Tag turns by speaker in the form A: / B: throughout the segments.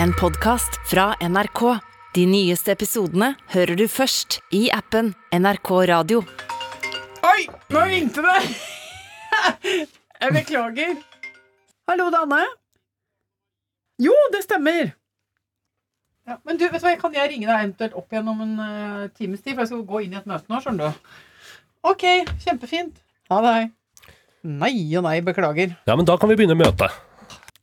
A: En podcast fra NRK. De nyeste episodene hører du først i appen NRK Radio.
B: Oi, nå ringte det! Jeg beklager. Hallo, det er Anne. Jo, det stemmer. Ja, men du, vet du hva, Kan jeg ringe deg eventuelt opp igjen om en eh, times tid? For jeg skal gå inn i et møte nå. skjønner du OK, kjempefint. Ha det. hei. Nei og nei, beklager.
C: Ja, men da kan vi begynne møtet.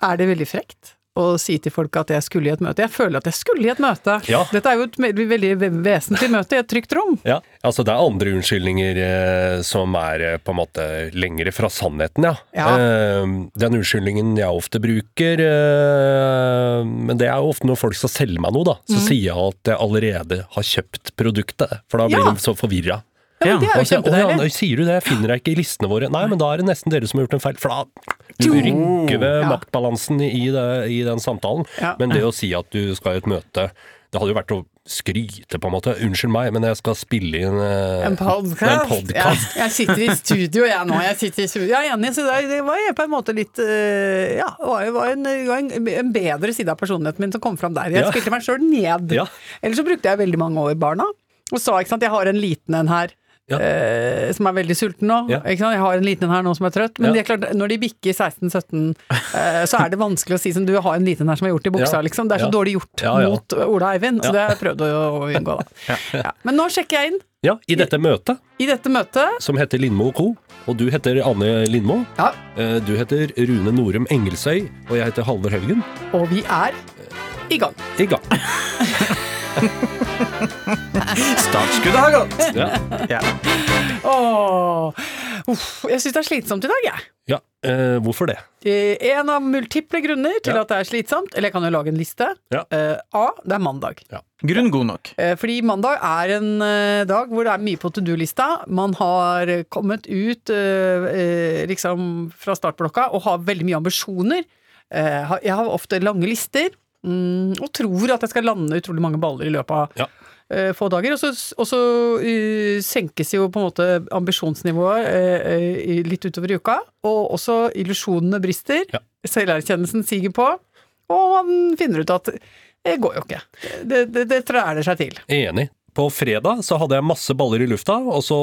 B: Er det veldig frekt å si til folk at jeg skulle i et møte? Jeg føler at jeg skulle i et møte.
C: Ja.
B: Dette er jo et me- veldig vesentlig møte i et trygt rom.
C: Ja. Altså, det er andre unnskyldninger eh, som er eh, på en måte lengre fra sannheten, ja.
B: Ja.
C: Eh, den unnskyldningen jeg ofte bruker, eh, men det er jo ofte når folk skal selge meg noe, da,
B: Mm.
C: så sier jeg at jeg allerede har kjøpt produktet, for da blir
B: Ja.
C: de så forvirra.
B: Ja, men det er jo
C: Altså, «Å, ja,
B: kjempedeilig.
C: nei, sier du det? Jeg finner deg ikke i listene våre. Nei, men da er det nesten dere som har gjort en feil, for da rygger ved
B: Ja.
C: maktbalansen i, det, i den samtalen.
B: Ja.
C: Men det å si at du skal i et møte, det hadde jo vært å skryte, på en måte. Unnskyld meg, men jeg skal spille inn eh,
B: En podkast.
C: en podcast.
B: Ja, jeg sitter i studio, jeg nå. Jeg sitter i studio. Jeg er enig, så det det var jeg på en måte litt eh, Ja, det var, jo- var en, det var en, en bedre side av personligheten min som kom fram der. Jeg
C: Ja.
B: spilte meg sjøl ned.
C: Ja.
B: Ellers så brukte jeg veldig mange år barna, og sa ikke sant, jeg har en liten en her.
C: Ja.
B: eh, som er veldig sulten nå.
C: Ja.
B: Ikke sant? Jeg har en liten en her nå som er trøtt. Men
C: Ja.
B: det er klart, når de bikker 16-17, eh, så er det vanskelig å si som du har en liten en her som er gjort i buksa,
C: Ja.
B: liksom. Det er så
C: Ja.
B: dårlig gjort
C: Ja, ja.
B: mot Ola Eivind, så det har jeg prøvd å å unngå, da. Ja. Men nå sjekker jeg inn
C: Ja, i dette møtet,
B: i dette møtet.
C: som heter Lindmo Co., og du heter Anne Lindmo.
B: Ja.
C: Eh, Du heter Rune Norum Engelsøy, og jeg heter Halvor Haugen.
B: Og vi er i gang.
C: I gang.
D: Startskuddet har gått!
C: Ja.
D: Ja.
B: Åh, uff, jeg syns det er slitsomt i dag, jeg.
C: ja. eh, hvorfor det?
B: Eh, En av multiple grunner til
C: Ja.
B: at det er slitsomt, eller jeg kan jo lage en liste.
C: Ja.
B: Eh, A. Det er mandag.
D: Grunn god nok.
B: Eh, Fordi mandag er en eh, dag hvor det er mye på to do-lista. Man har eh, kommet ut eh, eh, liksom fra startblokka og har veldig mye ambisjoner. Eh, ha- Jeg har ofte lange lister mm, og tror at jeg skal lande utrolig mange baller i løpet av
C: Ja.
B: eh, få dager. Og så, og så eh, senkes jo på en måte ambisjonsnivået eh, eh, i- litt utover i uka. Og også illusjonene brister.
C: Ja.
B: Selverkjennelsen siger på. Og man finner ut at eh, det går jo ikke. Det, det, det træler seg til.
C: Enig. På fredag så hadde jeg masse baller i lufta, og så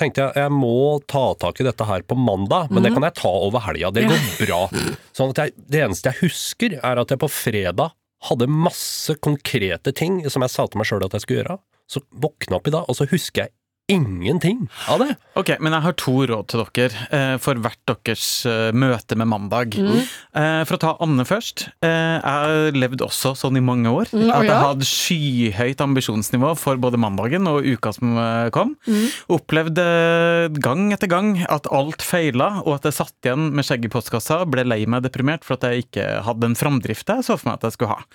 C: tenkte jeg jeg må ta tak i dette her på mandag, men det
B: Mhm.
C: kan jeg ta over helga. Det går bra. Sånn at jeg, det eneste jeg husker, er at jeg på fredag hadde masse konkrete ting som jeg sa til meg sjøl at jeg skulle gjøre. Så våkna jeg opp i dag, og så husker jeg ingenting av det.
D: Ok, men jeg har to råd til dere eh, for hvert deres eh, møte med mandag. Eh, for å ta Anne først. Eh, jeg levde også sånn i mange år.
B: Mm, å
D: at jeg
B: ja.
D: hadde skyhøyt ambisjonsnivå for både mandagen og uka som eh, kom. Opplevde eh, gang etter gang at alt feila, og at jeg satt igjen med skjegg i postkassa, ble lei meg deprimert for at jeg ikke hadde den framdrifta jeg så for meg at jeg skulle ha.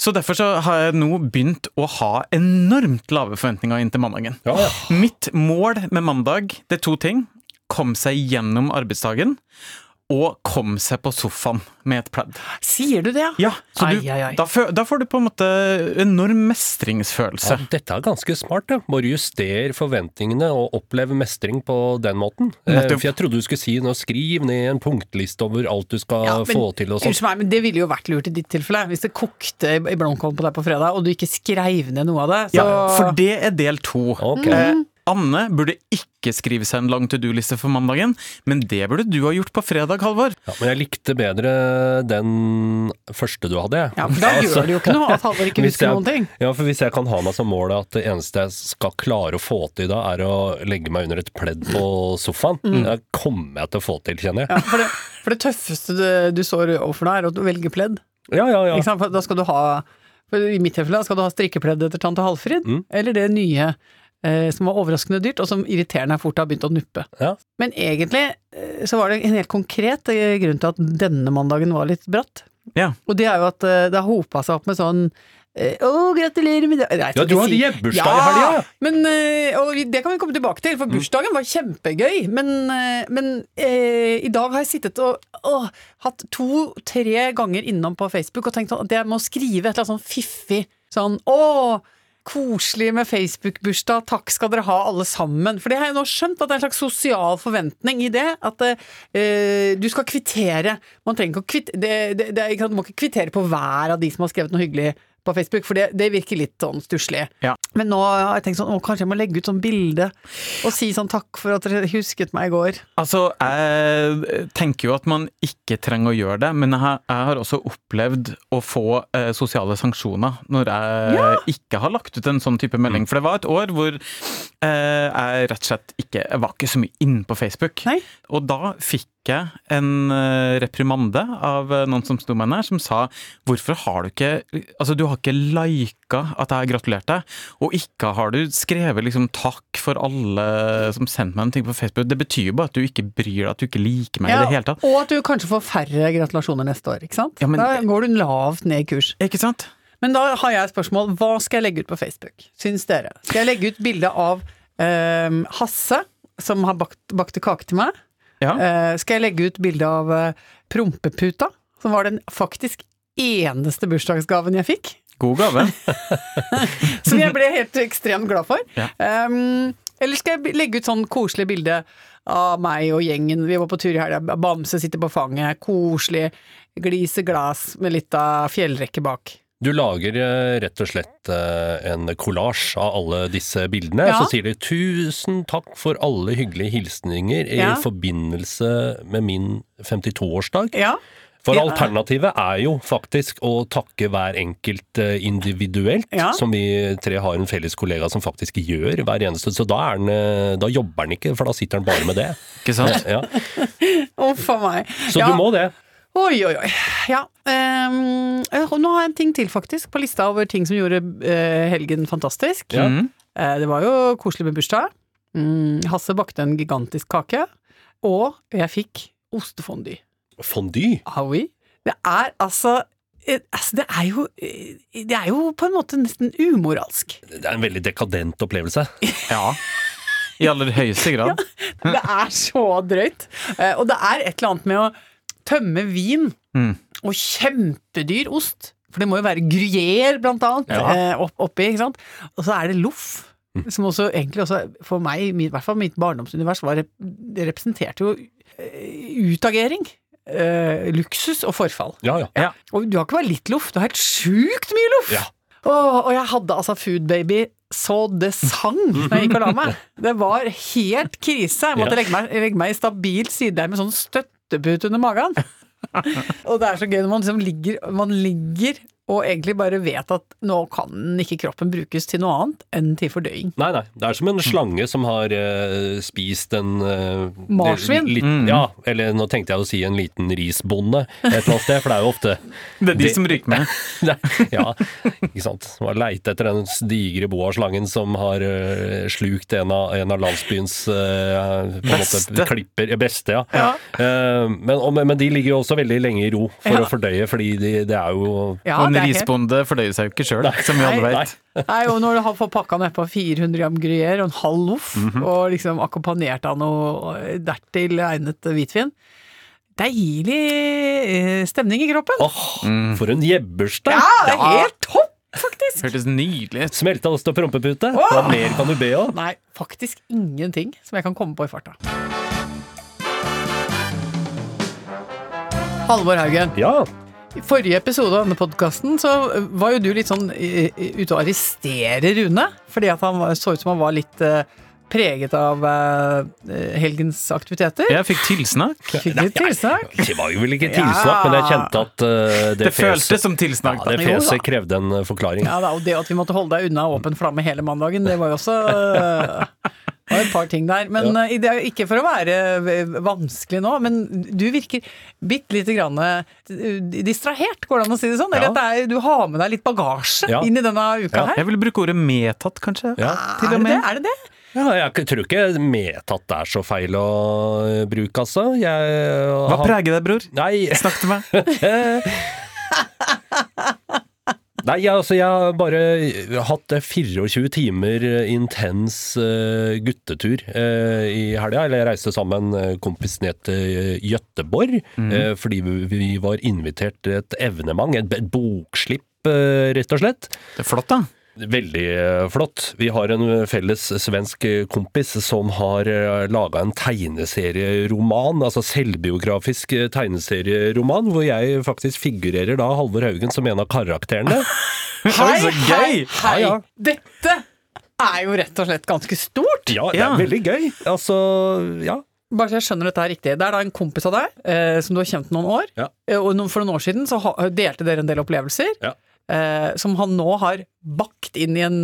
D: Så derfor så har jeg nå begynt å ha enormt lave forventninger inn til mandagen.
C: Ja, ja.
D: Mitt mål med mandag, det er to ting. Kom seg gjennom arbeidsdagen, og kom seg på sofaen med et pledd.
B: Sier du det?
D: Ja, så du,
B: Ai, ai, ai.
D: Da, fø- da får du på en måte enorm mestringsfølelse.
C: Ja, dette er ganske smart. Ja. Må justere forventningene og oppleve mestring på den måten. Eh,
D: Nettopp.
C: For jeg trodde du skulle si nå, skriv ned en punktliste over alt du skal
B: Ja, men-
C: få til og sånn.
B: Unnskyld meg, men Det ville jo vært lurt i ditt tilfelle. Hvis det kokte i blomkålen på deg på fredag, og du ikke skreiv ned noe av det, så
D: Ja, for det er del to.
C: Ok.
D: Eh, Anne burde ikke skrive seg en lang to do-liste for mandagen, men det burde du ha gjort på fredag, Halvor.
C: Ja, men jeg likte bedre den første du hadde, jeg.
B: Ja, for Da gjør det jo ikke noe at Halvor ikke
C: altså, Hvis
B: husker
C: jeg-
B: noen ting.
C: Ja, for hvis jeg kan ha meg som mål at det eneste jeg skal klare å få til da, er å legge meg under et pledd på sofaen,
B: Mm.
C: det kommer jeg til å få til, kjenner jeg.
B: Ja, for, det, for det tøffeste du, du står overfor deg, er at du velger pledd.
C: Ja, ja, ja.
B: Ikke sant? For da skal du ha for I mitt tilfelle da skal du ha strikkepledd etter tante Halfrid,
C: Mm.
B: eller det nye eh, som var overraskende dyrt, og som irriterende fort har begynt å nuppe.
C: Ja.
B: Men egentlig eh, så var det en helt konkret eh, grunn til at denne mandagen var litt bratt.
D: Ja.
B: Og det er jo at eh, det har hopa seg opp med sånn eh, Å, gratulerer med dagen
C: Ja, du hadde jevnbursdag i helga, ja.
B: Men, eh, og vi- det kan vi komme tilbake til, for bursdagen var kjempegøy. Men, eh, men eh, i dag har jeg sittet og å, hatt to-tre ganger innom på Facebook og tenkt sånn at jeg må skrive et eller annet sånn fiffig sånn Å, koselig med Facebook-bursdag, takk skal dere ha alle sammen. For det har jeg nå skjønt, at det er en slags sosial forventning i det. At eh, du skal kvittere. Man trenger ikke å kvitt- det, det, det, er ikke sant, Du må ikke kvittere på hver av de som har skrevet noe hyggelig på Facebook, for det, det virker litt sånn stusslig.
D: Ja.
B: Men nå har jeg tenkt sånn, å, kanskje jeg må legge ut sånn bilde og si sånn takk for at dere husket meg i går.
D: Altså, jeg tenker jo at man ikke trenger å gjøre det, men jeg, har- jeg har også opplevd å få eh, sosiale sanksjoner når jeg ikke har lagt ut en sånn type melding. For det var et år hvor eh, jeg rett og slett ikke jeg var ikke så mye inne på Facebook.
B: Nei.
D: Og da fikk jeg en eh, reprimande av eh, noen som sto meg nær, som sa hvorfor har du ikke Altså, du har ikke lika at jeg har gratulert deg, og ikke har du skrevet liksom takk for alle som sendte meg en ting på Facebook. Det betyr jo bare at du ikke bryr deg, at du ikke liker meg i det hele tatt.
B: og at du kanskje får færre gratulasjoner neste år, ikke sant?
D: Ja, men-
B: da går du lavt ned i kurs.
D: Ikke sant?
B: Men da har jeg et spørsmål. Hva skal jeg legge ut på Facebook, syns dere? Skal jeg legge ut bilde av ehm, Hasse, som har bakt, bakte kake til meg?
D: Ja.
B: Eh, skal jeg legge ut bilde av eh, Prompeputa, som var den faktisk eneste bursdagsgaven jeg fikk?
D: God gave.
B: Som jeg ble helt ekstremt glad for.
D: Ja.
B: Ehm, eller skal jeg legge ut sånn koselig bilde av meg og gjengen. Vi var på tur i helga. Bamse sitter på fanget. Koselig. Glise glass med litt av fjellrekke bak.
C: Du lager eh, rett og slett eh, en kollasj av alle disse bildene.
B: Ja.
C: Så sier de 'tusen takk for alle hyggelige hilsninger i
B: Ja.
C: forbindelse med min 52-årsdag'.
B: Ja.
C: For
B: Ja.
C: alternativet er jo faktisk å takke hver enkelt eh, individuelt,
B: Ja.
C: som vi tre har en felles kollega som faktisk gjør hver eneste. Så da, er den, eh, da jobber han ikke, for da sitter han bare med det.
D: Ikke sant?
C: Ja.
B: Uff a meg.
C: Så
B: ja.
C: du må det.
B: Oi, oi, oi. Ja. ehm, og nå har jeg en ting til, faktisk, på lista over ting som gjorde eh, helgen fantastisk.
C: Ja.
D: Mm.
B: Eh, det var jo koselig med bursdag. Mm, Hasse bakte en gigantisk kake. Og jeg fikk ostefondy.
C: Fondy.
B: Ah, oui. Det er altså eh, Altså, det er jo eh, Det er jo på en måte nesten umoralsk.
C: Det er en veldig dekadent opplevelse.
D: Ja. I aller høyeste grad.
B: Det er så drøyt. Eh, Og det er et eller annet med å tømme vin
D: Mm.
B: og kjempedyr ost. For det må jo være gruyère, blant annet,
D: Ja. Mm.
B: eh, opp, oppi. ikke sant? Og så er det loff. Som også egentlig også, for meg, i hvert fall mitt barndomsunivers, var, rep- det representerte jo eh, utagering. eh, luksus og forfall.
C: Ja, ja.
B: Og du har ikke bare litt loff, du har helt sjukt mye loff!
C: Ja.
B: Åh, og jeg hadde altså Food Baby så det sang da jeg gikk og la meg. Det var helt krise. Jeg måtte legge meg, legge meg i stabil sideleie med sånn støttepute under magen. og det er så gøy når man liksom ligger, man ligger og egentlig bare vet at nå kan ikke kroppen brukes til noe annet enn til fordøying.
C: Nei, nei. Det er som en slange som har eh, spist en eh,
B: Marsvin?
C: li- liten- Ja, eller nå tenkte jeg å si en liten risbonde et eller annet sted, for det er jo ofte
D: Det er de som ryker med.
C: det, Ja, ikke sant. Man leite etter den digre boaslangen som har eh, slukt en av, en av landsbyens eh, på en
D: Beste.
C: Måte, klipper. eh, Beste, ja. Eh, men, og, men de ligger jo også veldig lenge i ro for
B: Ja.
C: å fordøye, fordi de, det er jo
B: Ja,
D: Og en
B: det er helt-
D: risbonde fordøyer seg jo ikke sjøl, som vi alle
C: Nei.
D: vet.
B: Nei, og når du har fått pakka nedpå 400 gram gruyère og en halv loff,
D: Mhm.
B: og liksom akkompagnert av noe eh, dertil egnet hvitvin Deilig eh, stemning i kroppen.
C: Åh, for en jebberstang!
B: ja, det er helt topp, faktisk!
D: Hørtes nydelig ut.
C: Smelta ost og prompepute. Hva mer kan du be om?
B: Nei, faktisk ingenting som jeg kan komme på i farta. Halvor Haugen,
C: Ja.
B: i forrige episode av denne podkasten så eh, var jo du litt sånn eh, ute og arrestere Rune. Fordi at han var- så ut som han var litt eh, preget av eh, helgens aktiviteter.
D: Jeg fikk tilsnakk.
B: Fikk litt tilsnakk.
C: Det var jo vel ikke tilsnakk, men jeg kjente at eh, det,
D: Det føltes
C: fjeset
D: som
C: ja,
D: tilsnakk. da.
C: det
B: Jo da.
C: fjeset krevde en eh, forklaring.
B: Ja, da, og det at vi måtte holde deg unna åpen flamme hele mandagen, det var jo også øh, det var et par ting der. Men øh, det er jo ikke for å være øh, vanskelig nå, men du virker bitte lite grann øh, distrahert, går det an å si det sånn? Eller
C: Ja.
B: at det er, du har med deg litt bagasje
C: Ja.
B: inn i denne uka
C: Ja.
B: her?
D: Jeg ville bruke ordet medtatt, kanskje.
C: Ja.
B: er, det
D: til og
B: det?
D: med.
B: er det det?
C: Ja, jeg k- tror ikke medtatt det er så feil å eh, bruke, altså. Jeg
D: Hva
C: har-
D: preger deg, bror?
C: Nei,
D: Snakk til meg.
C: nei jeg, altså, jeg har bare hatt eh, 24 timer eh, intens eh, guttetur eh, i helga. Eller jeg reiste sammen med en eh, kompis ned til Gøteborg, eh, fordi vi- vi var invitert til et evenement, et b- et bokslipp, eh, rett og slett.
D: Det er flott, da.
C: Veldig eh, flott. Vi har en eh, felles svensk eh, kompis som har laga en tegneserieroman, altså selvbiografisk eh, tegneserieroman, hvor jeg faktisk figurerer da Halvor Haugen som en av karakterene.
D: Oi, så gøy!
B: hei!
C: Ja, ja.
B: Dette er jo rett og slett ganske stort.
C: Ja, det
D: Ja.
C: er veldig gøy. Altså, ja.
B: Bare så jeg skjønner dette her riktig. Det er da en kompis av deg eh, som du har kjent noen år.
C: Ja.
B: Eh, Og noen- for noen år siden så ha- delte dere en del opplevelser
C: Ja.
B: eh, som han nå har bakt inn i en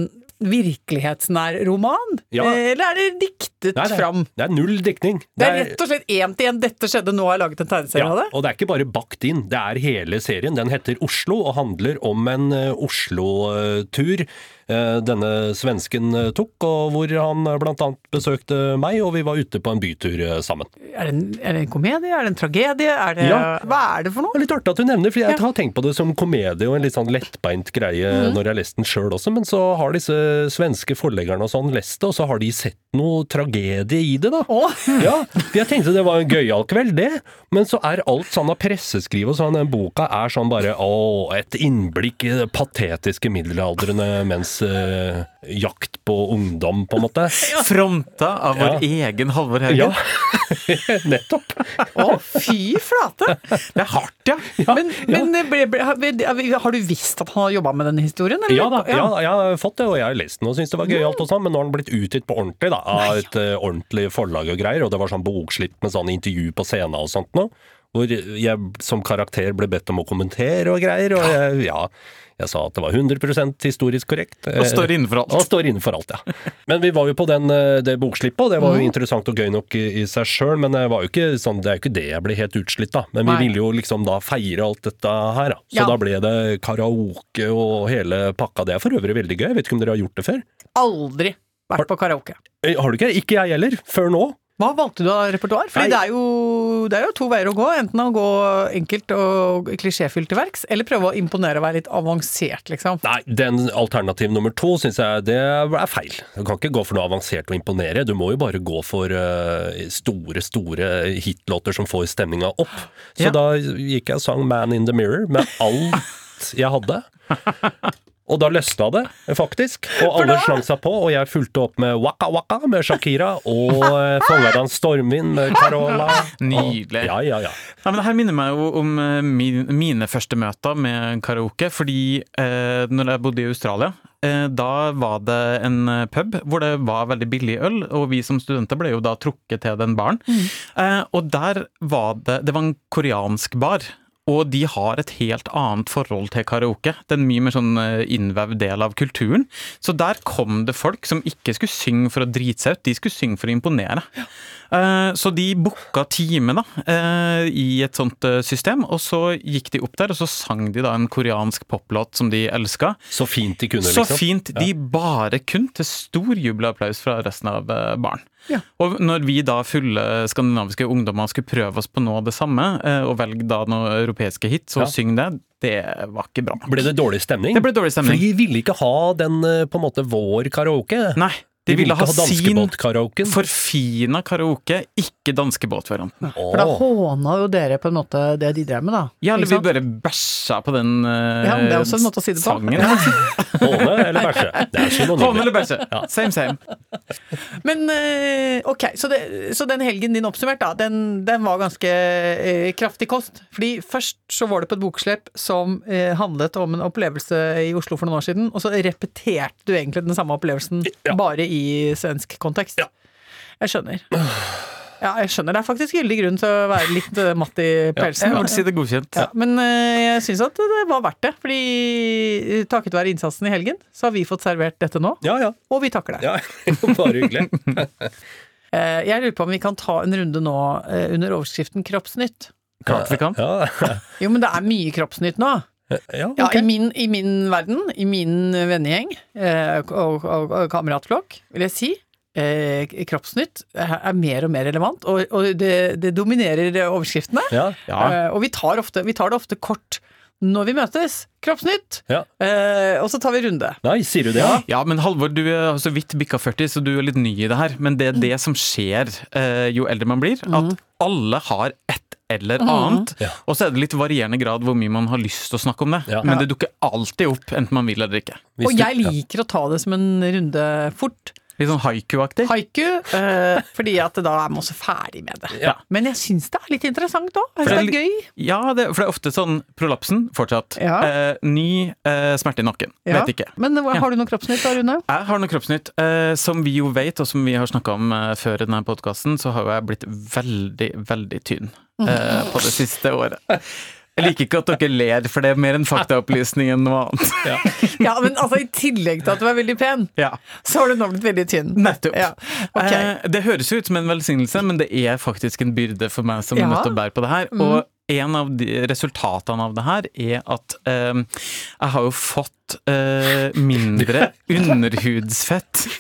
B: virkelighetsnær roman.
C: Ja.
B: Eh, eller er det diktet
C: Nei, det, er,
B: fram?
C: det er null diktning.
B: Det er rett og slett én til én. Dette skjedde, nå har jeg laget en tegneserie av
C: ja,
B: det.
C: og det er ikke bare bakt inn, det er hele serien. Den heter Oslo og handler om en eh, Oslo-tur eh, denne svensken eh, tok, og hvor han eh, blant annet besøkte meg, og vi var ute på en bytur eh, sammen.
B: Er det, en, er det en komedie? Er det en tragedie? Er det,
C: Ja.
B: Hva er det for
C: Det
B: noe?
C: er litt artig at du nevner, for jeg har tenkt på det som komedie og en litt sånn lettbeint greie når jeg har lest den sjøl også, men så har disse svenske forleggerne og sånn lest det, og så har de sett noe tragedie i det, da.
B: Å,
C: Ja, for jeg tenkte det var en gøyal kveld, det. Men så er alt sånn av presseskriv og sånn, den boka er sånn bare å, et innblikk i det patetiske middelaldrende mens eh, jakt på ungdom, på en måte.
D: Fronta av vår egen Halvor Haugen.
C: Ja, nettopp.
B: å, fy flate!
D: Det er hardt, ja!
B: men men det ble, ble, har, har du visst at han har jobba med den historien? eller?
C: Ja da, ja, jeg har fått det, og jeg har lest den og syntes det var gøyalt og sånn, men nå har den blitt utgitt på ordentlig, da, av et eh, ordentlig forlag og greier, og det var sånn bokslipp med sånn intervju på scenen og sånt nå, hvor jeg som karakter ble bedt om å kommentere og greier, og jeg, ja, jeg sa at det var 100 historisk korrekt. eh,
D: Og står innenfor
C: Og
D: alt.
C: står innenfor alt, ja. Men vi var jo på den, eh, det bokslippet, og det var jo
B: Mhm.
C: interessant og gøy nok i, i seg sjøl, men det, var jo ikke, sånn, det er jo ikke det jeg ble helt utslitt av. Men vi
B: Nei.
C: ville jo liksom da feire alt dette her, da. Så
B: Ja.
C: da ble det karaoke og hele pakka. Det er for øvrig veldig gøy, jeg vet ikke om dere har gjort det før?
B: Aldri vært på karaoke.
C: Eh, Har du ikke? Ikke jeg heller, før nå.
B: Hva valgte du av repertoar? Fordi
C: Nei.
B: det er, jo, det er jo to veier å gå. Enten å gå enkelt og klisjéfylt til verks, eller prøve å imponere og være litt avansert, liksom.
C: Nei, den alternativ nummer to syns jeg det er feil. Du kan ikke gå for noe avansert og imponere. Du må jo bare gå for eh, store, store hitlåter som får stemninga opp. Så
D: Ja.
C: da gikk jeg og sang Man in the Mirror med alt jeg hadde. Og da løsna det, faktisk. Og alle slang seg på, og jeg fulgte opp med Waka Waka med Shakira, og eh, fanga av en stormvind med Carola.
D: Nydelig.
C: Ja, ja, ja.
D: Ja, men det her minner meg jo om eh, min, mine første møter med karaoke. Fordi eh, når jeg bodde i Australia, eh, da var det en eh, pub hvor det var veldig billig øl. Og vi som studenter ble jo da trukket til den baren.
B: Mm.
D: Eh, og der var det Det var en koreansk bar. Og de har et helt annet forhold til karaoke. Det er en mye mer sånn eh, innvevd del av kulturen. Så der kom det folk som ikke skulle synge for å drite seg ut, de skulle synge for å imponere. Eh, Så de booka time da, eh, i et sånt eh, system, og så gikk de opp der, og så sang de da en koreansk poplåt som de elska.
C: Så fint de kunne,
D: Så
C: liksom.
D: fint de bare kunne, til stor jubel og applaus fra resten av eh, baren.
B: Ja.
D: Og når vi da fulle skandinaviske ungdommer skulle prøve oss på noe av det samme, eh, og velge da noen europeiske hits og
C: Ja.
D: synge det, det var ikke bra.
C: Ble det dårlig stemning?
D: Det ble dårlig
C: For
D: stemning.
C: de ville ikke ha den eh, på en måte vår karaoke.
D: Nei, de,
C: De
D: ville ha sin
C: danskebåtkaraoken.
D: forfina karaoke, ikke danskebåtvarianten.
B: For da håna jo dere på en måte det de drev med, da.
D: Ja, eller
B: Ikke
D: vi
B: sant?
D: bare bæsja på den eh,
B: Ja, men det er også en måte å si det på.
D: sangen.
C: Håne eller bæsje. Det er
D: Håne
C: synonymer.
D: eller bæsje. Same, same.
B: Men eh, ok, så, det, så den helgen din oppsummert, da, den, den var ganske eh, kraftig kost. Fordi først så var det på et bokslipp som eh, handlet om en opplevelse i Oslo for noen år siden, og så repeterte du egentlig den samme opplevelsen,
C: Ja.
B: bare i svensk kontekst. Jeg skjønner. Ja, jeg skjønner. Det er faktisk gyldig grunn til å være litt eh, matt i pelsen.
D: Jeg vil si det er godkjent.
B: Ja, men eh, jeg syns at det var verdt det. Fordi eh, takket være innsatsen i helgen, så har vi fått servert dette nå,
C: Ja, ja.
B: og vi takker det.
C: ja. Bare hyggelig.
B: Eh, Jeg lurer på om vi kan ta en runde nå eh, under overskriften kroppsnytt.
D: Klart vi kan.
C: Ja,
B: Jo, men det er mye kroppsnytt nå.
C: ja,
B: Ja,
C: ok.
B: i, min, I min verden, i min vennegjeng eh, og, og, og kameratflokk, vil jeg si. Eh, kroppsnytt er er mer og mer relevant, og, og det, det dominerer overskriftene.
C: ja.
D: Ja.
B: Eh, og vi tar, ofte, vi tar det ofte kort når vi møtes. Kroppsnytt!
C: Ja.
B: Eh, og så tar vi runde.
C: Nei, sier du det? Ja.
D: Ja, men Halvor, du er så vidt bikka 40, så du er
B: Mhm.
D: litt ny i det her. Men det er det som skjer eh, jo eldre man blir, at alle har et eller annet.
C: Ja.
D: Og så er det litt varierende grad hvor mye man har lyst til å snakke om det.
C: Ja.
D: Men det dukker alltid opp, enten man vil eller ikke.
C: Hvis
B: Og
C: du-
B: jeg liker å ta det som en runde fort.
D: Litt sånn haiku-aktig.
B: Haiku. eh, fordi at da er man også ferdig med det.
D: Ja.
B: Men jeg syns det er litt interessant òg.
D: For
B: Det er
D: det er
B: gøy.
D: Ja, det, for det er ofte sånn prolapsen fortsatt.
B: Ja.
D: Eh, ny eh, smerte i nakken.
B: Ja.
D: Vet ikke.
B: Men hva- har du noe kroppsnytt da, Rune?
D: Jeg har noe kroppsnytt. Eh, som vi jo vet, og som vi har snakka om eh, før i denne podkasten, så har jo jeg blitt veldig, veldig tynn eh, på det siste året. Jeg liker ikke at dere ler, for det er mer en faktaopplysning enn noe annet.
B: Ja, men altså I tillegg til at du er veldig pen,
D: Ja,
B: så har du nå blitt veldig tynn.
D: nettopp.
B: Ja, ok.
D: Eh, det høres jo ut som en velsignelse, men det er faktisk en byrde for meg som
B: Ja. Mm.
D: er nødt til å bære på det her. Og en av de resultatene av det her er at eh, jeg har jo fått eh, mindre underhudsfett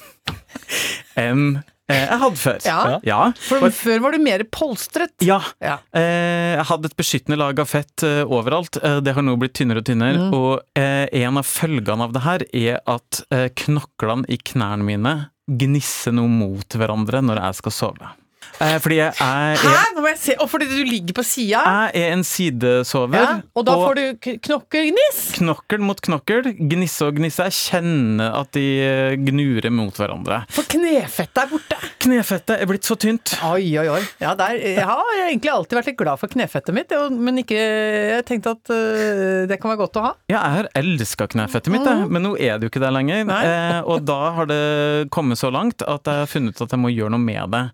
D: enn eh, jeg hadde før.
B: Ja.
D: ja.
B: For Før var du mer polstret.
D: Ja.
B: Ja.
D: Eh, jeg hadde et beskyttende lag av fett eh, overalt. Eh, det har nå blitt tynnere og tynnere.
B: Mm.
D: Og eh, en av følgene av det her er at eh, knoklene i knærne mine gnisser noe mot hverandre når jeg skal sove. Eh, fordi jeg er,
B: Hæ,
D: jeg,
B: nå må jeg se! Og fordi du ligger på sida,
D: jeg er en sidesover.
B: ja, og da får du k- knokkelgniss!
D: Knokkel mot knokkel, gnisse og gnisse. Jeg kjenner at de eh, gnurer mot hverandre.
B: For knefettet er borte.
D: Knefettet er blitt så tynt.
B: Oi, oi, oi. Ja, der, jeg har egentlig alltid vært litt glad for knefettet mitt, jo, men ikke, jeg tenkte at øh, det kan være godt å ha.
D: Ja, jeg har elska knefettet mitt, jeg, men nå er det jo ikke der lenger.
B: Nei.
D: Eh, og da har det kommet så langt at jeg har funnet ut at jeg må gjøre noe med det.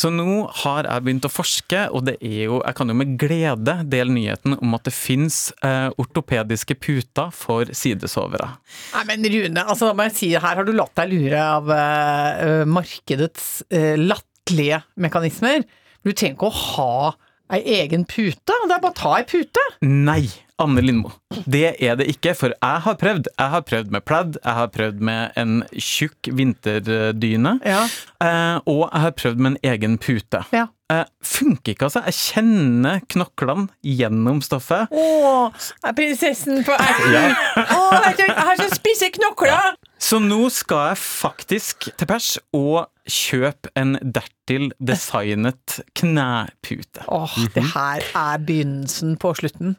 D: Så nå har jeg begynt å forske, og det er jo, jeg kan jo med glede dele nyheten om at det fins eh, ortopediske puter for sidesovere.
B: Nei, men Rune, altså, da må jeg si, her har du latt deg lure av øh, øh, markedets øh, latterlige mekanismer. Du trenger ikke å ha ei egen pute, det er bare å ta ei pute.
D: Nei, Anne Lindmo. Det er det ikke, for jeg har prøvd. Jeg har prøvd med pledd, jeg har prøvd med en tjukk vinterdyne,
B: Ja.
D: eh, og jeg har prøvd med en egen pute.
B: Ja.
D: Eh, funker ikke, altså. Jeg kjenner knoklene gjennom stoffet.
B: Å, er prinsessen på erten. Å, vet du, jeg har så spisse knokler!
D: Så nå skal jeg faktisk til pers og kjøpe en dertil designet knepute.
B: Åh, det her er begynnelsen på slutten.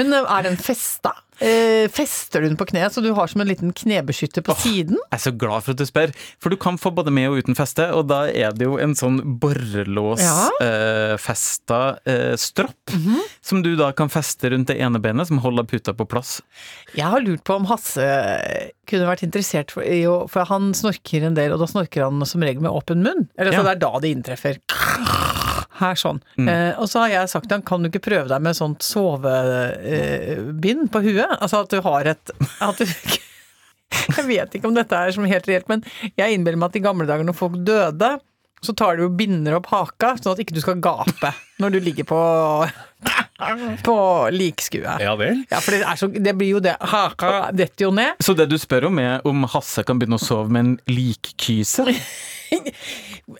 B: Men øh, er den festa? Eh, fester du den på kneet, så du har som en liten knebeskytter på siden?
D: Jeg er så glad for at du spør, for du kan få både med og uten feste, og da er det jo en sånn
B: Ja.
D: borrelåsfesta eh, festa, eh, stropp, som du da kan feste rundt det ene benet, som holder puta på plass.
B: Jeg har lurt på om Hasse kunne vært interessert for, i å For han snorker en del, og da snorker han som regel med åpen munn. Eller så
D: Ja.
B: det er da det inntreffer. Her, sånn. Eh, og så har jeg sagt til han, kan du ikke prøve deg med sånt sovebind på huet? Altså at du har et at du, Jeg vet ikke om dette er som helt reelt, men jeg innbiller meg at i gamle dager når folk døde, så tar du og binder opp haka, sånn at ikke du skal gape når du ligger på på likskue.
C: Ja vel?
B: Ja, for det, er så, det blir jo det. Haka detter jo ned.
D: Så det du spør om er om Hasse kan begynne å sove med en likkyse?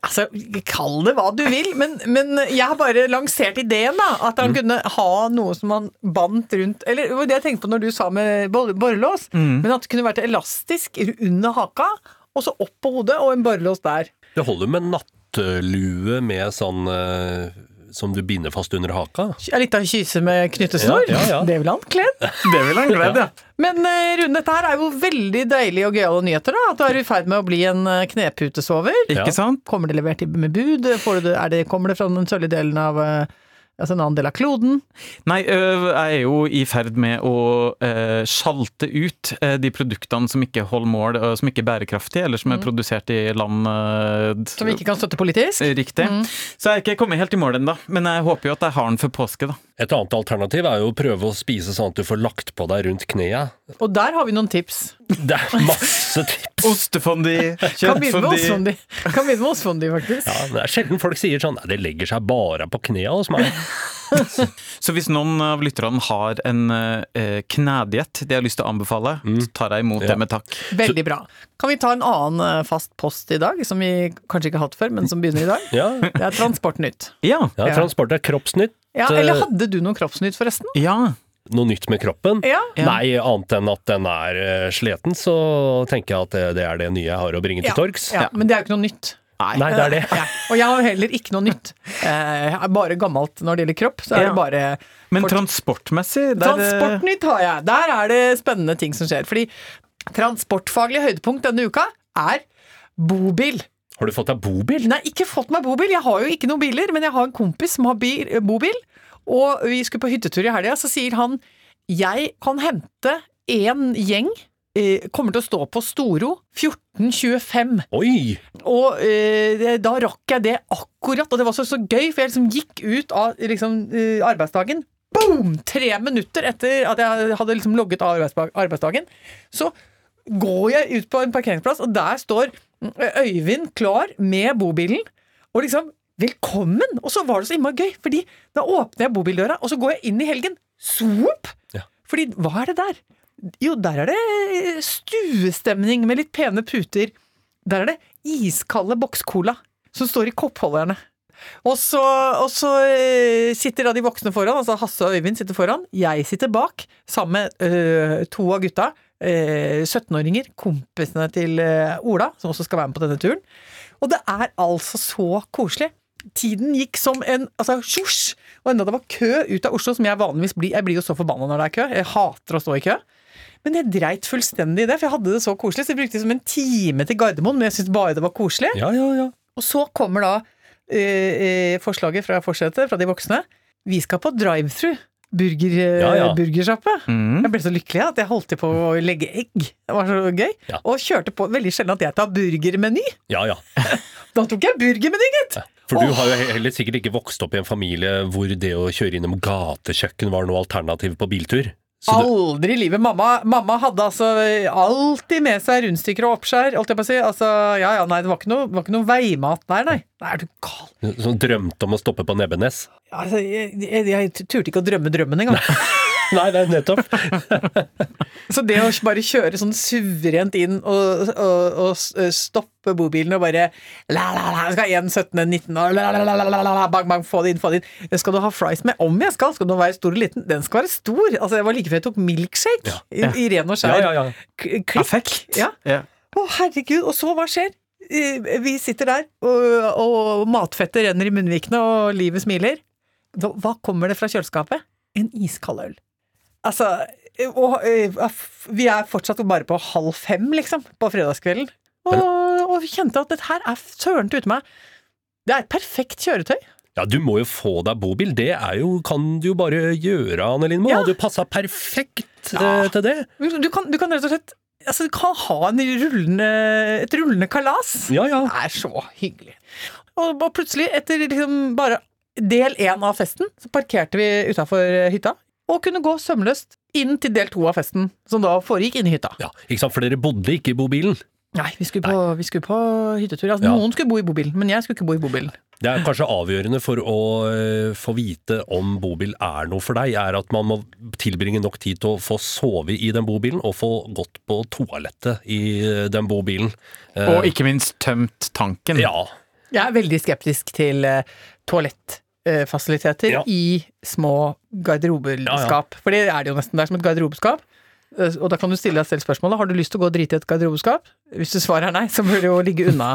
B: Altså, kall det hva du vil, men, men jeg har bare lansert ideen, da. At han kunne ha noe som han bandt rundt Eller det var det jeg tenkte på når du sa med bor- borrelås, men at det kunne vært elastisk under haka, og så opp på hodet, og en borrelås der.
C: Det holder med nattlue med sånn eh, som du binder fast under haka.
B: En lita kyse med knyttesnor.
C: Ja, ja, ja.
B: Det ville han kledd.
D: Det vil han glede, ja.
B: Men eh, Rune, dette her er jo veldig deilige og gøyale nyheter, da. At du er i ferd med å bli en eh, kneputesover.
D: Ikke
C: Ja.
D: sant?
B: Kommer det levert i- med bud? Får du det, er det, kommer det fra den sørlige delen av eh, Altså en annen del av kloden.
D: Nei, øh, jeg er jo i ferd med å øh, sjalte ut øh, de produktene som ikke holder mål, øh, som ikke er bærekraftige, eller som er produsert i land øh, d-
B: Som vi ikke kan støtte politisk.
D: Riktig.
B: Mm.
D: Så jeg er ikke kommet helt i mål ennå, men jeg håper jo at jeg har den før påske, da.
C: Et annet alternativ er jo å prøve å spise sånn at du får lagt på deg rundt kneet.
B: Og der har vi noen tips.
C: Det er masse tips!
D: Ostefondi,
B: Kan begynne med
D: kjøttfondi
B: ostfondi, kan begynne med ostfondi faktisk.
C: Ja, det er sjelden folk sier sånn Nei, det legger seg bare på knea hos meg.
D: Så hvis noen av lytterne har en øh, knediett de har lyst til å anbefale, så tar jeg imot
C: Mm. Ja.
D: det med takk.
B: Veldig bra. Kan vi ta en annen eh, fast post i dag, som vi kanskje ikke har hatt før, men som begynner i dag?
C: Ja,
B: Det er Transportnytt.
D: Ja.
C: ja transport er kroppsnytt. Eh,
B: Ja, eller hadde du noe kroppsnytt, forresten?
D: ja.
C: Noe nytt med kroppen?
B: Ja.
C: Nei, annet enn at den er eh, sleten, så tenker jeg at det, det er det nye jeg har å bringe til
B: Ja,
C: torgs.
B: ja, men det er jo ikke noe nytt.
C: Nei, det er det.
B: Ja. Og jeg har heller ikke noe nytt. Eh, Jeg er bare gammelt når det gjelder kropp. Så er
D: Ja.
B: det bare
D: Men
B: Fort-
D: transportmessig der, eh,
B: Transportnytt har jeg! Der er det spennende ting som skjer. Fordi transportfaglig høydepunkt denne uka er bobil.
C: Har du fått deg bobil?
B: Nei, ikke fått meg bobil. Jeg har jo ikke noen biler, men jeg har en kompis som har bil, eh, bobil. Og vi skulle på hyttetur i helga, så sier han jeg kan hente en gjeng, eh, kommer til å stå på Storo 1425.
C: Oi!
B: Og eh, det- da rakk jeg det akkurat, og det var så, så gøy, for jeg liksom gikk ut av liksom, eh, arbeidsdagen. Boom! Tre minutter etter at jeg hadde liksom logget av arbeidsdag- arbeidsdagen, så går jeg ut på en parkeringsplass, og der står mm, Øyvind klar med bobilen, og liksom Velkommen! Og så var det så innmari gøy, fordi da åpner jeg bobildøra, og så går jeg inn i helgen. Swoop!
C: Ja.
B: Fordi hva er det der? Jo, der er det eh, stuestemning med litt pene puter. Der er det iskalde bokscola som står i koppholderne. Og så, og så eh, sitter da de voksne foran, altså Hasse og Øyvind sitter foran. Jeg sitter bak, sammen med eh, to av gutta. eh, 17-åringer, kompisene til eh, Ola, som også skal være med på denne turen. Og det er altså så koselig. Tiden gikk som en altså, sjosj! Og enda det var kø ut av Oslo, som jeg vanligvis blir Jeg blir jo så forbanna når det er kø. Jeg hater å stå i kø. Men jeg dreit fullstendig i det, for jeg hadde det så koselig. Så jeg brukte liksom en time til Gardermoen, men jeg syntes bare det var koselig.
C: Ja, ja, ja.
B: Og så kommer da eh, eh, forslaget fra forsetet, fra de voksne. Vi skal på drive-thru. Burger, eh,
C: Ja, ja.
B: Burgersjappe.
D: Mm.
B: Jeg ble så lykkelig at jeg holdt til på å legge egg. Det var så gøy.
C: Ja.
B: Og kjørte på veldig sjelden at jeg tar burgermeny.
C: ja, ja.
B: Da tok jeg burgermeny, gitt!
C: For du har jo he- heller sikkert ikke vokst opp i en familie hvor det å kjøre innom gatekjøkken var noe alternativ på biltur. Så du,
B: Aldri i livet. Mamma, mamma hadde altså alltid med seg rundstykker og oppskjær, holdt jeg på å si. Altså, ja ja, nei, det var ikke noe, det var ikke noe veimat der, nei. Nei, er du gal?
C: som drømte om å stoppe på Nebbenes.
B: Altså, jeg, jeg, jeg turte ikke å drømme drømmen engang.
C: Nei, det er nettopp.
B: Så det å bare kjøre sånn suverent inn og, og, og s- eh, stoppe bobilen og bare la, la, la, Skal ha en 17., en 19. og la, la, la, la, la, la, la, bang, bang, få det inn, få det inn. Skal du ha fries med? Om jeg skal! Skal den være stor eller liten? Den skal være stor! Altså, jeg var like før jeg tok milkshake I, i ren og
C: Ja,
B: skjær
C: ja, ja.
B: k- klikk.
D: Affekt.
B: Ja.
D: Ja.
B: Å, herregud. Og så, hva skjer? Eh, Vi sitter der, og, og matfettet renner i munnvikene, og livet smiler. Da, hva kommer det fra kjøleskapet? En iskald øl. Altså eh, og, eh, f- Vi er fortsatt bare på halv fem, liksom, på fredagskvelden. Og, og vi kjente at dette her er søren til ute meg. Det er et perfekt kjøretøy.
C: Ja, du må jo få deg bobil. Det er jo, kan du jo bare gjøre, Anne Lindmo.
B: Ja. Ah.
C: Hadde jo passa perfekt eh, til det.
B: Du kan, du kan rett og slett altså, du kan ha en rullende, et rullende kalas.
C: Ja, ja.
B: Det er så hyggelig. Og, og plutselig, etter liksom bare del én av festen, så parkerte vi utafor hytta. Og kunne gå sømløst inn til del to av festen, som da foregikk inne i hytta.
C: ja. Ikke sant, for dere bodde ikke i bobilen.
B: Nei, vi skulle på, vi skulle på hyttetur. Altså,
C: Ja.
B: Noen skulle bo i bobilen, men jeg skulle ikke bo i bobilen.
C: Det er kanskje avgjørende for å eh, få vite om bobil er noe for deg, er at man må tilbringe nok tid til å få sove i den bobilen, og få gått på toalettet i eh, den bobilen. Eh,
D: Og ikke minst tømt tanken.
C: Ja.
B: Jeg er veldig skeptisk til eh, toalettfasiliteter
C: Ja.
B: i små garderobeskap. For det er det jo nesten. Det er som et garderobeskap. Eh, Og da kan du stille deg selv spørsmålet har du lyst til å gå og drite i et garderobeskap. Hvis du svarer nei, så bør du jo ligge unna.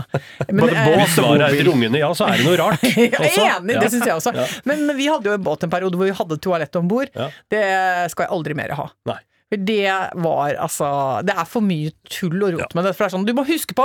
B: Men,
D: Både båt-
B: eh,
C: Hvis svaret er et rungende ja, så er det noe rart.
B: jeg er
C: også.
B: enig,
C: Ja.
B: det syns jeg også. Men vi hadde jo en båt en periode hvor vi hadde toalett om bord.
C: Ja.
B: Det skal jeg aldri mer ha.
C: Nei.
B: For det var altså Det er for mye tull og rot med det. For det er sånn, du må huske på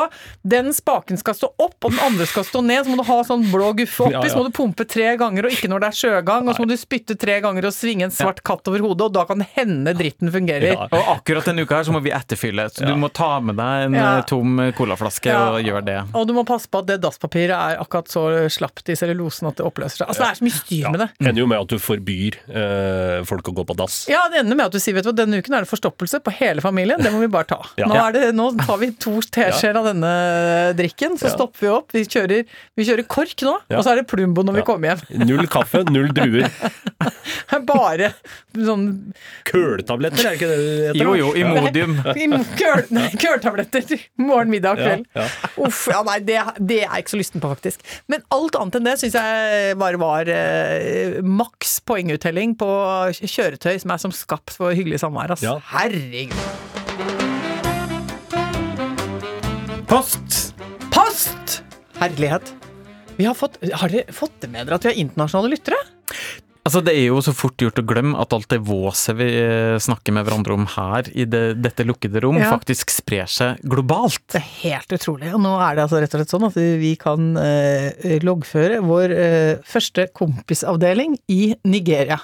B: den spaken skal stå opp, og den andre skal stå ned. Så må du ha sånn blå guffe oppi,
C: Ja, ja.
B: så må du pumpe tre ganger, og ikke når det er sjøgang. Og så må du spytte tre ganger og svinge en svart katt over hodet, og da kan hende dritten fungerer.
C: Ja.
D: Og akkurat denne uka her så må vi etterfylle, så du må ta med deg en
B: Ja.
D: eh, tom colaflaske
B: Ja.
D: og gjøre det.
B: Og du må passe på at det dasspapiret er akkurat så slapt i cellulosen at det oppløser seg. Altså, det er så mye styr med det.
C: Ender jo med at du forbyr eh, folk å gå på dass.
B: Ja, det ender med at du sier vet du hva, denne uken er det forstoppelse på hele familien, det må vi bare ta.
C: Ja.
B: Nå, er det, nå tar vi to teskjeer av denne drikken, så
C: Ja.
B: stopper vi opp. Vi kjører, vi kjører kork nå,
C: Ja.
B: og så er det Plumbo når
C: Ja.
B: vi kommer hjem.
C: Null kaffe, null druer.
B: Bare sånn
C: Køletabletter, er ikke det det heter?
D: Jo jo, Imodium.
B: køl- nei, køltabletter morgen, middag og
C: Ja,
B: kveld.
C: ja.
B: Uff, ja nei, det, det er jeg ikke så lysten på, faktisk. Men alt annet enn det syns jeg bare var eh, maks poenguttelling på kjøretøy som er som skapt for hyggelig samvær. ass.
C: Ja.
B: Herregud.
D: Post!
B: Post! Herlighet. Vi har, fått, har dere fått det med dere at vi har internasjonale lyttere?
D: Altså, Det er jo så fort gjort å glemme at alt det våset vi eh, snakker med hverandre om her, i det, dette lukkede rom,
B: Ja.
D: faktisk sprer seg globalt.
B: Det er helt utrolig. Og nå er det altså rett og slett sånn at vi kan eh, loggføre vår eh, første kompisavdeling i Nigeria.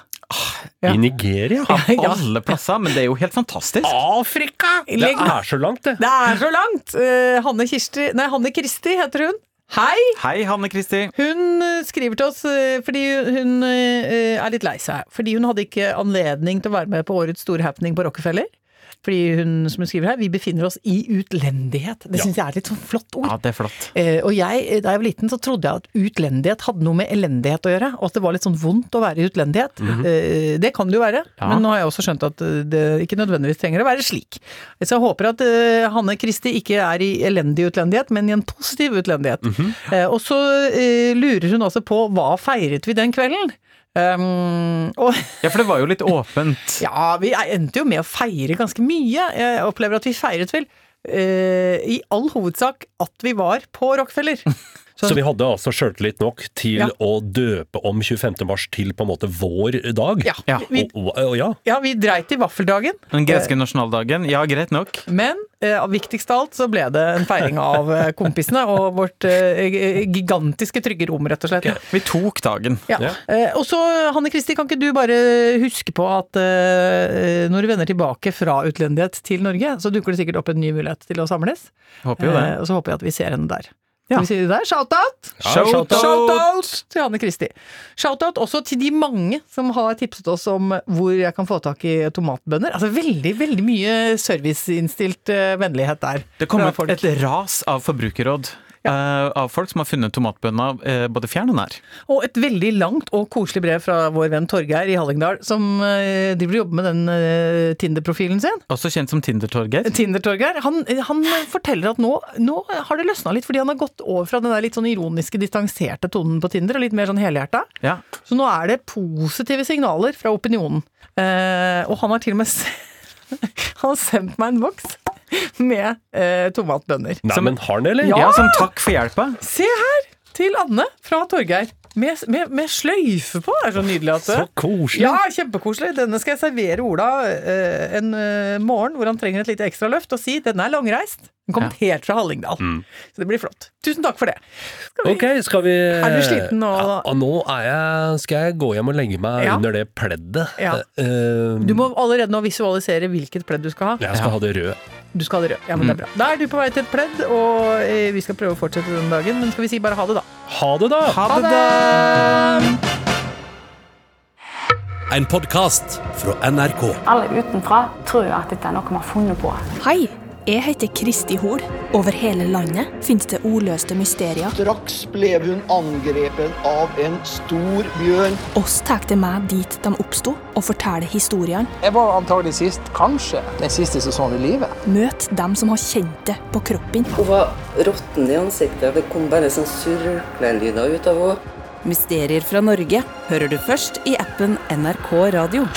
B: Ja.
C: I Nigeria?
D: Av alle plasser, men det er jo helt fantastisk.
C: Afrika! Det
B: Legg-
C: er så langt, det.
B: Det er så langt! Eh, Hanne Kirsti Nei, Hanne Kristi heter hun. Hei!
D: Hei, Hanne Kristi.
B: Hun eh, skriver til oss eh, fordi hun eh, er litt lei seg. Fordi hun hadde ikke anledning til å være med på årets store happening på Rockefeller. Fordi hun, som hun skriver her, vi befinner oss i utlendighet. Det syns jeg er et litt sånn flott ord.
D: Ja, det er flott.
B: Eh, og jeg, eh, da jeg var liten, så trodde jeg at utlendighet hadde noe med elendighet å gjøre. Og at det var litt sånn vondt å være i utlendighet. eh, det kan det jo være,
D: Ja.
B: men nå har jeg også skjønt at eh, det ikke nødvendigvis trenger å være slik. Så jeg håper at eh, Hanne Kristi ikke er i elendig utlendighet, men i en positiv utlendighet. Eh, og så eh, lurer hun altså på hva feiret vi den kvelden? Um, og
D: Ja, for det var jo litt åpent.
B: ja, vi endte jo med å feire ganske mye. Jeg opplever at vi feiret vel eh, i all hovedsak at vi var på Rockefeller.
C: Så vi hadde altså sjøltillit nok til
B: Ja.
C: å døpe om 25. mars til på en måte vår dag.
B: Ja.
D: Ja.
B: Vi,
C: Og, og, og ja.
B: ja, vi dreit i vaffeldagen,
D: Den greske nasjonaldagen, ja, greit nok.
B: men eh, viktigst av alt så ble det en feiring av eh, kompisene og vårt eh, g- gigantiske trygge rom, rett og slett.
D: Vi tok dagen.
B: Ja.
C: Ja.
B: Eh, og så, Hanne Kristi, kan ikke du bare huske på at eh, når du vender tilbake fra utlendighet til Norge, så dukker det sikkert opp en ny mulighet til å samles.
D: Håper jo det.
B: Eh, og så håper jeg at vi ser henne der.
D: Ja.
B: Skal vi si det der? Shout-out!
C: Ja,
D: Shout-out!
C: shout-out.
B: Shout-out til Hanne Kristi. Shout-out også til de mange som har tipset oss om hvor jeg kan få tak i tomatbønner. Altså veldig, veldig mye serviceinnstilt eh, vennlighet der.
D: Det kom
B: fra
D: ut
B: folk.
D: et ras av forbrukerråd. eh, av folk som har funnet tomatbønner eh, både fjern og nær.
B: Og et veldig langt og koselig brev fra vår venn Torgeir i Hallingdal, som eh, driver og jobber med den eh, Tinder-profilen sin.
D: Også kjent som Tinder-torget.
B: Tinder-Torgeir. Han, han forteller at nå, nå har det løsna litt, fordi han har gått over fra den der litt sånn ironiske, distanserte tonen på Tinder, og litt mer sånn helhjerta.
D: Ja.
B: Så nå er det positive signaler fra opinionen. Eh, og han har til og med s- Han har sendt meg en boks med eh, tomatbønner.
C: Nei, men har den det, eller?
B: Ja.
D: ja, som takk for hjelpa.
B: Se her! Til Anne fra Torgeir. Med, med, med sløyfe på. Det er så nydelig at det
C: Så koselig.
B: Ja, kjempekoselig. Denne skal jeg servere Ola eh, en eh, morgen hvor han trenger et lite ekstra løft, og si denne er langreist. Den kom helt fra Hallingdal. Så det blir flott. Tusen takk for det. Skal vi-
C: Ok, skal vi
B: Er du sliten nå?
C: Ja, og nå er jeg, skal jeg gå hjem og legge meg
B: Ja.
C: under det pleddet.
B: Ja.
C: Eh,
B: Du må allerede nå visualisere hvilket pledd du skal ha.
C: Jeg skal ha det røde.
B: Du skal ha det rød. Ja,
D: Mm.
B: men det er bra. Da er du på vei til et pledd, og eh, vi skal prøve å fortsette den dagen. Men skal vi si bare ha det, da?
C: Ha det, da!
D: Ha det, da!
E: En podkast fra NRK.
F: Alle utenfra tror jo at dette er noe vi har funnet på.
G: Hei, jeg heter Kristi Hol. Over hele landet finnes det ordløste mysterier.
H: Straks ble hun angrepet av en stor bjørn.
G: Oss tar det med dit de oppsto, og forteller historiene.
I: Jeg var antagelig sist, kanskje, den siste sesongen i livet.
G: Møt dem som har kjent det på kroppen.
J: Hun var råtten i ansiktet. Det kom bare sånn surklelyder ut av henne.
A: Mysterier fra Norge hører du først i appen NRK Radio.